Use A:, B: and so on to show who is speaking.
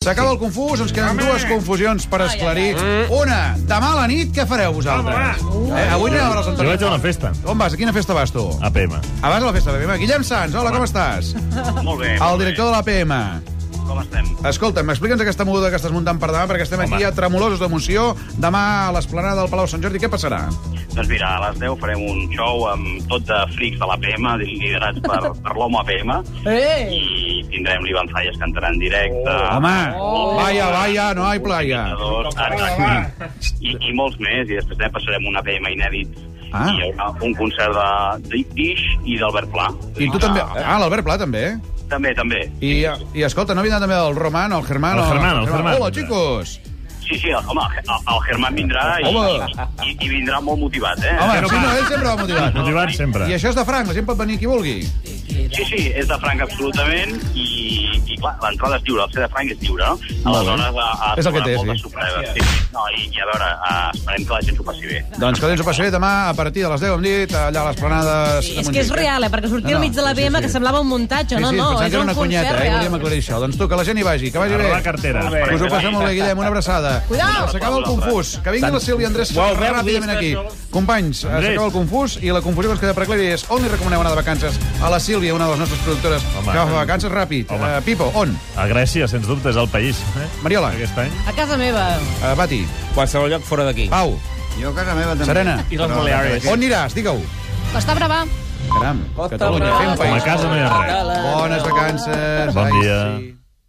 A: S'acaba el confús, ens queden dues confusions per esclarir. Mm. Una, demà a la nit, què fareu vosaltres? Eh, avui anem a veure els
B: Jo vaig
A: Antonio.
B: a una festa.
A: On vas? A quina festa vas, tu?
B: APM.
A: Ah, vas a la festa de l'APM. Guillem Sans, hola, com estàs?
C: Molt bé.
A: El director de l'APM.
C: Com estem?
A: Escolta'm, explica'ns aquesta moguda que estàs muntant per demà, perquè estem aquí
B: Home.
A: a tremolosos d'emoció. Demà a l'esplanada del Palau Sant Jordi, què passarà?
C: Doncs mira, a les 10 farem un show amb tot de frics de l'APM, liderats per, per l'home APM,
D: Eh!
C: i tindrem l'Ivan Falles cantant en directe.
A: Oh, Home, vaya, vaya, no hay playa.
C: Dos, exacte. I, I molts més, i després també passarem un APM inèdit.
A: Ah.
C: I hi haurà un concert de Dick Dish i d'Albert Pla.
A: I tu també... Ah, l'Albert Pla, també.
C: També, també.
A: I, i escolta, no vindrà també el Roman, el Germán...
B: El Germán, el Germán.
A: Hola, xicos!
C: Sí, sí, el, home, el, el Germán vindrà i,
A: Home.
C: i, i, i vindrà molt motivat, eh?
A: Home, sí, Ah, no, ell sempre va motivat.
B: Motivat sempre.
A: I això és de franc, la gent pot venir qui vulgui.
C: Sí, sí, és de franc absolutament i, i clar, l'entrada és lliure, el ser de franc és lliure, no? Aleshores, a, a,
A: És el que té,
C: moltes
A: sí.
C: sorpreses. Sí, sí. No, i, i a veure, a, esperem que la gent s'ho passi bé.
A: Doncs que ens ho passaré demà a partir de les 10, hem dit, allà a l'esplanada... Sí,
D: És que és real, eh? Perquè sortia al mig de la BM que semblava un muntatge, no, no,
A: pensava
D: és
A: que era
D: un
A: una cunyeta,
D: concert
A: eh?
D: real.
A: Volíem aclarir això. Doncs tu, que la gent hi vagi, que vagi
B: Arroba la
A: bé.
B: cartera. Esperem
A: Us ho
B: que
A: passem molt bé, Guillem, una abraçada.
D: Cuidao!
A: S'acaba el confús. Que vingui la Sílvia Andrés
B: Uau, veu,
A: ràpidament aquí.
B: avui
A: Companys, eh,
B: Andrés.
A: s'acaba el confús i la confusió que ens queda per aclarir és on li recomaneu anar de vacances? A la Sílvia, una de les nostres productores,
B: Home.
A: que va fer vacances ràpid.
B: Home.
A: Eh, Pipo, on?
B: A Grècia, sens dubte, és el país. Eh?
A: Mariola.
B: Aquest any.
D: A casa meva.
A: Eh, Bati,
E: Qualsevol lloc fora d'aquí.
A: Pau,
F: Jo a casa meva també.
A: Serena.
B: I les Balears.
A: On aniràs? Digue-ho.
D: Costa Brava.
A: Caram, Catalunya, fem
B: Com a
A: país.
B: casa no hi ha res.
A: Bones vacances.
B: Bon
A: Ai,
B: dia.
A: sí.